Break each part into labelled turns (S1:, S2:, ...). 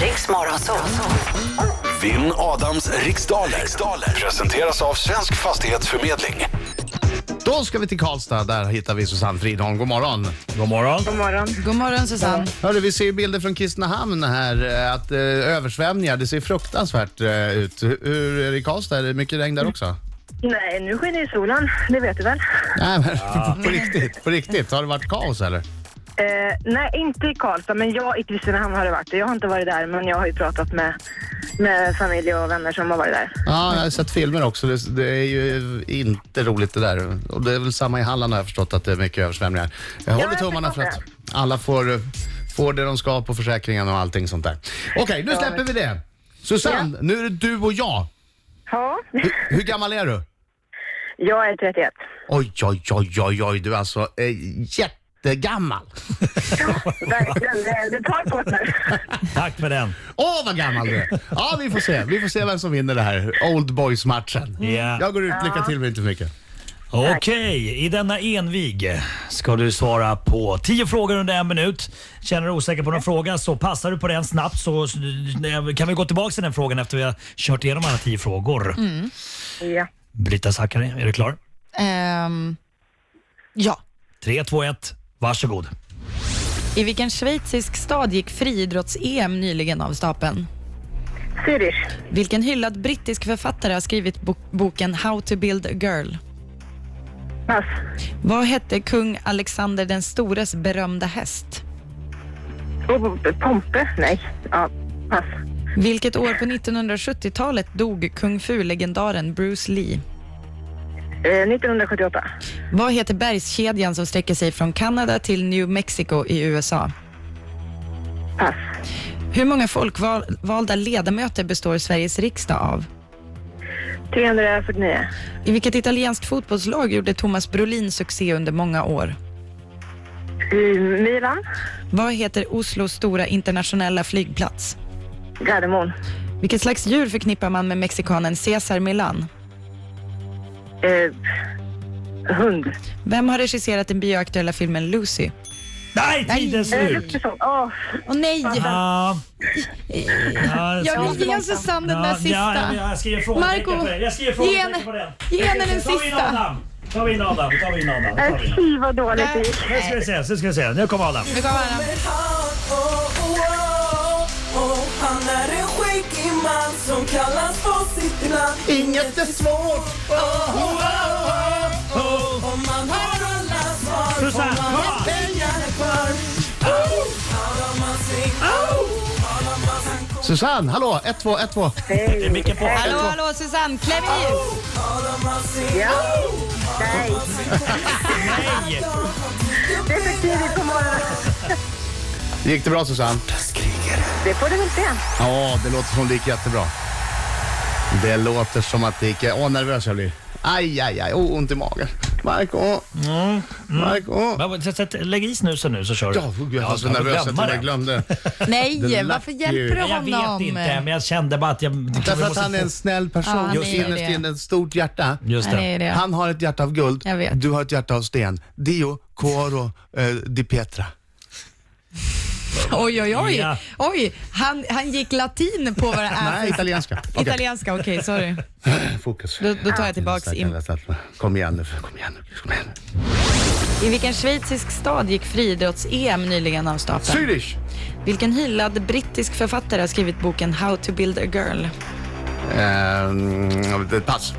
S1: Riks Morgonzoo.
S2: Vinn Adams riksdaler. riksdaler presenteras av Svensk Fastighetsförmedling.
S3: Då ska vi till Karlstad. Där hittar vi Susanne Fridholm. God morgon.
S4: God morgon.
S5: God morgon.
S6: God morgon Susanne.
S3: Hörru, vi ser ju bilder från Kristinehamn här. eh, Att eh, översvämningar, det ser fruktansvärt eh, ut. Hur- Hur är det i Karlstad? Är det mycket regn där också?
S5: Nej, nu skiner ju solen, det vet du väl?
S3: Nej, men på riktigt. På riktigt. Har det varit kaos eller?
S5: Eh, nej, inte i Karlstad, men jag i Kristinehamn har det varit. Jag har inte varit där, men jag har ju pratat med, med familj och vänner som har varit där.
S3: Ja, jag har sett filmer också. Det, det är ju inte roligt det där. Och det är väl samma i Halland har jag förstått att det är mycket översvämningar. Jag håller
S5: jag
S3: tummarna för
S5: förstår
S3: att alla får, eh, får det de ska på försäkringen och allting sånt där. Okej, nu släpper vi det. Susanne, nu är det du och jag.
S5: Ja,
S3: Hur, hur gammal är du?
S5: jag är 31.
S3: Oj, oj, oj, oj, oj. Du är alltså eh, jättegammal.
S5: Verkligen, det- det tar kort nu.
S4: Tack för den.
S3: Åh, vad gammal du är. Ja, vi får se. Vi får se vem som vinner det här Old Boys-matchen.
S4: Ja.
S3: Jag går ut. Lycka till, men inte för mycket.
S4: Okej, i denna envig ska du svara på 10 frågor under en minut. Känner du dig osäker på någon fråga så passar du på den snabbt så så kan vi gå tillbaka till den frågan efter vi har kört igenom alla 10 frågor.
S6: Mm.
S5: Ja.
S4: Brita Zackari, är du klar?
S6: Ehm, ja.
S4: 3, 2, 1, varsågod.
S6: I vilken schweizisk stad gick friidrotts-EM nyligen av stapeln?
S5: Zürich,
S6: Vilken hyllad brittisk författare har skrivit bo- boken How to build a girl?
S5: pass.
S6: Vad hette kung Alexander den stores berömda häst?
S5: Oh, Pompe? Nej, ja, pass.
S6: Vilket år på 1970-talet dog kung fu-legendaren Bruce Lee?
S5: Eh, 1978.
S6: Vad heter bergskedjan som sträcker sig från Kanada till New Mexico i USA?
S5: Pass.
S6: Hur många folkvalda ledamöter består Sveriges riksdag av?
S5: 349.
S6: I vilket italienskt fotbollslag gjorde Thomas Brolin succé under många år?
S5: I Eh, Milan,
S6: Vad heter Oslos stora internationella flygplats?
S5: Gardermoen.
S6: Vilket slags djur förknippar man med mexikanen Cesar Millan?
S5: Eh, hund. Eh,
S6: Vem har regisserat den bioaktuella filmen Lucy?
S4: Nej, tiden är
S5: Eh,
S4: slut!
S5: Luftförsång. Åh,
S6: Åh nej!
S4: Ah. Ja,
S6: Jag
S4: så-
S6: vill ge Susanne den
S4: Ja,
S6: där
S4: Ja,
S6: sista.
S4: jag skriver frågetecken
S6: Marco,
S4: på den. Jag skriver
S6: ge henne-
S4: frågetecken på den.
S6: ge henne den
S4: Tar vi in
S6: sista.
S4: Adam. Tar vi in Adam. Tar vi in Adam. Tar vi in
S5: eh,
S4: Adam.
S5: fy vad dåligt det gick.
S4: Nu ska vi se, nu ska vi se. Nu kommer Adam.
S6: Nu kommer han.
S7: Han är en skäggig man som kallas på sitt namn
S3: Inget är svårt.
S7: Om man har alla svar får
S4: Susanne,
S7: man
S4: kom!
S7: pengar kvar Har man sin
S3: Susanne, hallå. 1, 2, 1, 2.
S4: Det är mycket på.
S5: Äh,
S6: Hallå, hallå Susanne, kläm i!
S7: Har man sin
S5: Ja. Nej,
S4: Nej!
S5: det är för tidigt på morgonen.
S3: Gick det bra, Susanne?
S5: Det får du väl se.
S3: Ja, det låter som det gick jättebra. Det låter som att det gick... Åh, nervös jag blir. Aj, aj, aj. Åh, ont i magen. Marco, Marco.
S4: Men, vad- så- så att- Lägg i snusen nu så kör du.
S3: Ja, oh, gud, jag var så
S4: Ja,
S3: nervös att
S4: glömma
S3: jag
S4: den.
S3: glömde. Det
S6: Nej,
S3: lapp
S6: varför hjälper du
S3: ju.
S4: Jag
S6: honom?
S4: vet inte, men jag kände bara att jag...
S3: Därför att han är en snäll person.
S6: Ja, han
S3: Just
S6: är ju
S3: innerst
S6: det.
S3: inne ett stort hjärta.
S4: Just
S6: Nej, det
S4: det.
S6: är det.
S3: Han har ett hjärta av guld.
S6: Jag vet.
S3: Du har ett hjärta av sten. Dio coro eh, di pietra.
S6: Oj, oj, oj.
S4: Ja.
S6: oj. Han, han gick latin på vad det är.
S3: Nej, italienska. Okej,
S6: Ah. Italienska, okej, sorry.
S3: fokus.
S6: Då, då tar jag tillbaks. In.
S3: Kom igen nu. Kom igen nu. Kom igen.
S6: I vilken schweizisk stad gick friidrotts-EM nyligen av stapeln?
S3: Zürich.
S6: Vilken hyllad brittisk författare har skrivit boken How to build a girl?
S3: Ehm, pass.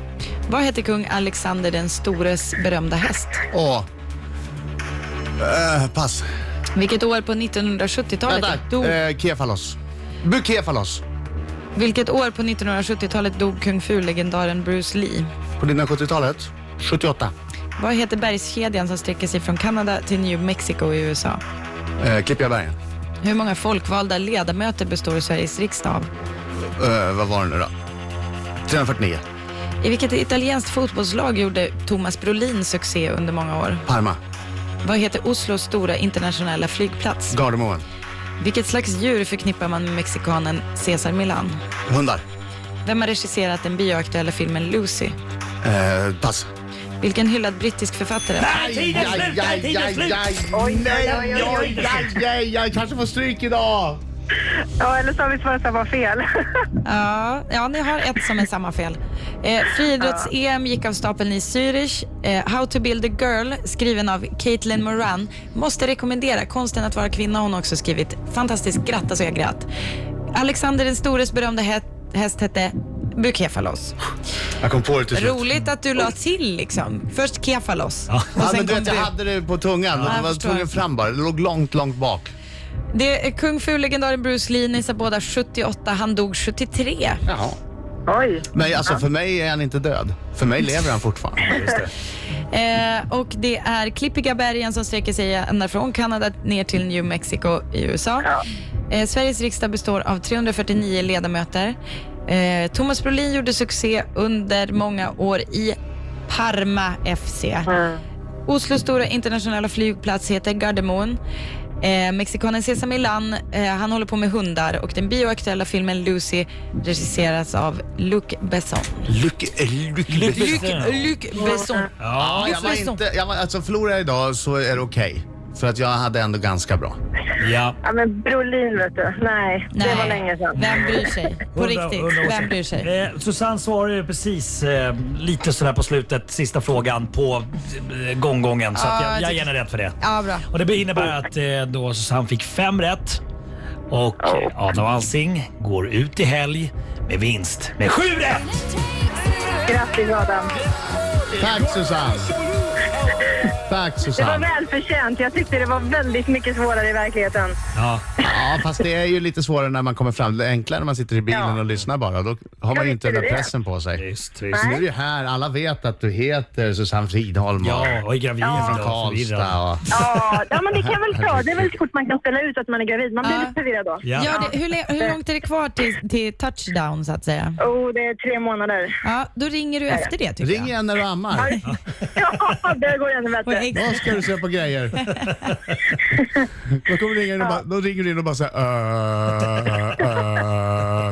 S6: Vad hette kung Alexander den stores berömda häst?
S3: Åh. Eh, pass.
S6: Vilket år på 1970-talet dog,
S3: Vänta. Eh, Kefalos. Bukefalos.
S6: vilket år på 1970-talet dog kung fu-legendaren Bruce Lee?
S3: På 1970-talet. 78.
S6: Vad heter bergskedjan som sträcker sig från Kanada till New Mexico i USA?
S3: Eh, Klippiga bergen.
S6: Hur många folkvalda ledamöter består Sveriges riksdag av?
S3: Eh, vad var det nu då? 349.
S6: I vilket italienskt fotbollslag gjorde Thomas Brolin succé under många år?
S3: Parma.
S6: Vad heter Oslos stora internationella flygplats?
S3: Gardermoen.
S6: Vilket slags djur förknippar man med mexikanen Cesar Millan?
S3: Hundar.
S6: Vem har regisserat den bioaktuella filmen Lucy?
S3: Eh, pass.
S6: Vilken hyllad brittisk författare?
S4: Nej, tiden är slut! Nej, tiden är slut!
S3: aj, aj, nej,
S5: oj, oj,
S3: aj, aj, aj, kanske får stryk idag.
S5: Ja, eller så har vi svarat samma fel.
S6: Ja, ja, ni har ett som är samma fel. Eh, Friidrotts-EM gick av stapeln i Zürich. Eh, How to build a girl, skriven av Caitlin Moran. Måste rekommendera. Konsten att vara kvinna har hon också skrivit. Fantastiskt. Grattas och jag grät. Alexander den stores berömda hä- häst hette Bukefalos.
S3: Jag kom på det till slut.
S6: Roligt att du la till liksom. Först Kefalos.
S3: Ja, men du
S6: kom
S3: vet, jag
S6: Bu.
S3: hade det på tungan.
S6: Ja,
S3: Jag
S6: jag
S3: var
S6: förstår.
S3: tvungen fram bara. Det låg långt, långt bak.
S6: Det är kung fu-legendaren Bruce Lee ni sa båda 78. Han dog 73.
S3: Jaha.
S5: Oj.
S3: Men alltså, för mig är han inte död. För mig lever han fortfarande.
S6: Eh, och det är klippiga bergen som sträcker sig ända från Kanada ner till New Mexico i USA.
S5: Ja.
S6: Eh, Sveriges riksdag består av 349 ledamöter. Eh, Thomas Brolin gjorde succé under många år i Parma FC.
S5: Mm.
S6: Oslos stora internationella flygplats heter Gardermoen. Eh, mexikanen Cesar Millan, eh, han håller på med hundar och den bioaktuella filmen Lucy regisseras av Luc Besson.
S3: Lyck, eh, lyck, lyck.
S4: Luc-
S6: Luc Besson.
S4: Ja,
S3: Ja, jag var inte, jag var, alltså förlorar jag idag så är det okej. För att jag hade ändå ganska bra.
S4: ja.
S5: Ja, men Brolin vet du. Nej, det var länge sedan.
S6: Vem bryr sig? På
S4: Hundra-
S6: riktigt,
S4: hundra år sedan.
S6: vem bryr sig?
S4: Eh, Susanne svarade ju precis eh, lite sådär på slutet, sista frågan på eh, gånggången. Så att
S6: Ja,
S4: jag,
S6: jag
S4: jag ger henne rätt för det.
S6: Ja, bra.
S4: Och det innebär att eh, då Susanne fick fem rätt och eh, Adam Alsing går ut i helg med vinst med sju rätt!
S5: Grattis Adam.
S3: Tack Susanne! Tack
S5: Det var
S3: Susanne!
S5: välförtjänt. Jag tyckte det var väldigt mycket svårare i verkligheten.
S4: Ja.
S3: Ja, fast det är ju lite svårare när man kommer fram. Det är enklare när man sitter i bilen
S5: Ja.
S3: och lyssnar bara. Då har man ju inte
S5: visst
S3: den där
S5: är det.
S3: pressen på sig.
S4: Visst, visst.
S3: Så nu är du här. Alla vet att du heter Susanne Fridholm och
S4: Ja, och är gravid
S3: från
S4: och
S3: Karlstad.
S4: förvirrad.
S3: Och...
S5: Ja, ja men det kan väl ta. Det är väl så fort man kan ställa ut att man är gravid. Man blir
S6: Ja.
S5: lite förvirrad då.
S4: Ja.
S6: Ja, det, hur, le- hur långt är det kvar till, till touchdown så att säga?
S5: Oh, det är tre månader.
S6: Ja, då ringer du efter det tycker
S3: Ring
S6: jag.
S3: igen när du ammar.
S5: Ja, det går ännu
S6: Och
S5: bättre.
S6: ex-
S3: Vad ska du köpa grejer? Då, kommer du ringa in och bara, då ringer du in och bara säger uh,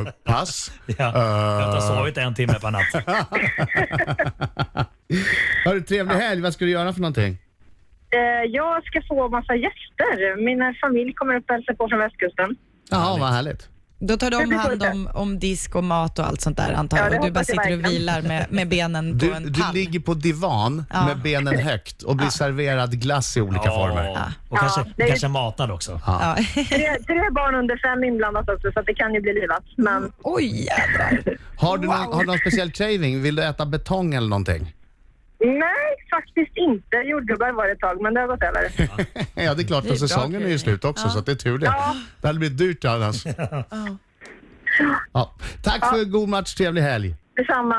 S3: uh, pass.
S4: Ja. Jag har
S3: Eh.
S4: sovit en timme per natt.
S3: Har du trevlig helg? Vad ska du göra för någonting?
S5: Eh, Jag ska få massa gäster. Min familj kommer upp och hälsar på från västkusten.
S3: Jaha, vad härligt.
S6: Då tar de hand om, om disk och mat och allt sånt där antar
S5: Ja,
S6: jag.
S5: det
S6: Och du bara
S5: hoppas jag
S6: sitter och
S5: verkligen.
S6: vilar med, med benen på
S3: Du,
S6: en
S3: du
S6: pall.
S3: ligger på divan
S6: Ja.
S3: med benen högt och blir serverad glass i olika former.
S4: Ja, Och kanske,
S5: det är-
S4: kanske matad också.
S6: Ja.
S5: Tre, tre barn under fem inblandat också, så att det kan ju bli livat. Men
S6: Oj jädrar.
S3: Har du, någon, har du någon speciell craving? Vill du äta betong eller någonting?
S5: nej, faktiskt inte. Jordgubbar var det ett tag, men det har gått över.
S3: Ja, det är klart.
S6: är
S3: för
S6: bra
S3: säsongen är ju
S6: craving.
S3: slut också, så att det är tur det. Det hade blivit dyrt annars. Ja. Tack för god match. Trevlig helg.
S5: Detsamma.